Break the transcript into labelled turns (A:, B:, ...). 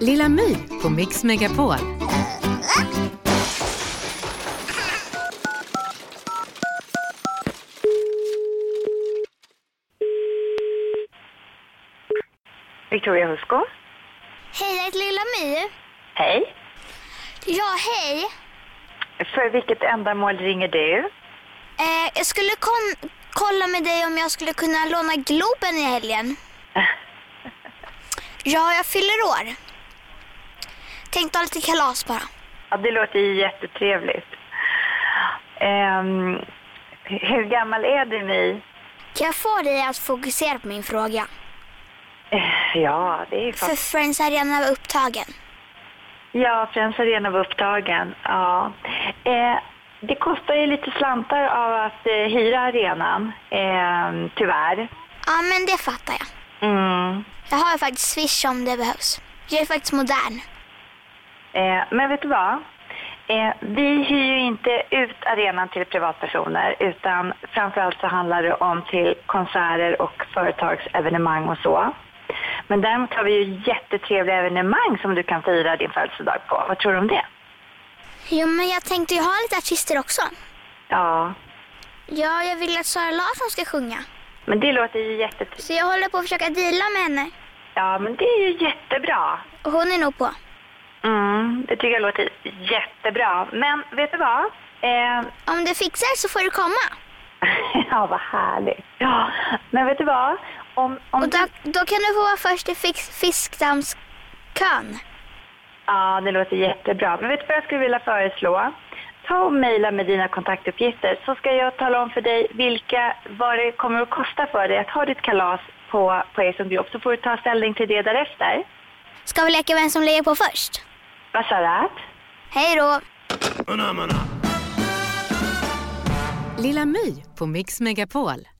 A: Lilla My på Mix Megapol.
B: Victoria Husko.
C: Hej, jag heter Lilla My.
B: Hej.
C: Ja, hej.
B: För vilket ändamål ringer du?
C: Eh, jag skulle kon- kolla med dig om jag skulle kunna låna Globen i helgen. Ja, jag fyller år. Tänkte ha lite kalas bara.
B: Ja, det låter ju jättetrevligt. Ehm, hur gammal är du, My?
C: Kan jag få dig att fokusera på min fråga?
B: Eh, Ja, det är
C: För
B: faktiskt...
C: Friends Arena var upptagen.
B: Ja, Friends Arena var upptagen. Ja. Eh, det kostar ju lite slantar av att eh, hyra arenan, eh, tyvärr.
C: Ja, men det fattar jag.
B: Mm.
C: Jag har ju faktiskt Swish om det behövs. Jag är faktiskt modern.
B: Eh, men vet du vad? Eh, vi hyr ju inte ut arenan till privatpersoner utan framförallt så handlar det om till konserter och företagsevenemang och så. Men däremot har vi ju jättetrevliga evenemang som du kan fira din födelsedag på. Vad tror du om det?
C: Jo, men jag tänkte ju ha lite artister också.
B: Ja,
C: Ja, jag vill att Sara Larsson ska sjunga.
B: men det låter ju jättetrevligt.
C: Så jag håller på att försöka deala med henne.
B: Ja, men det är ju jättebra.
C: Och hon är nog på.
B: Mm, det tycker jag låter jättebra. Men vet du vad? Eh,
C: Om du fixar så får du komma.
B: ja, vad härligt. Ja, men vet du vad? Om, om
C: Och
B: du-
C: då, då kan du få vara först i fix, fiskdammskön.
B: Ja, det låter jättebra. Men vet du vad jag skulle vilja föreslå? Ta och mejla med dina kontaktuppgifter så ska jag tala om för dig vilka, vad det kommer att kosta för dig att ha ditt kalas på, på er som grupp så får du ta ställning till det därefter.
C: Ska vi leka vem som lägger på först?
B: Vad sa du?
C: Hej då!
A: Lilla My på Mix Megapol.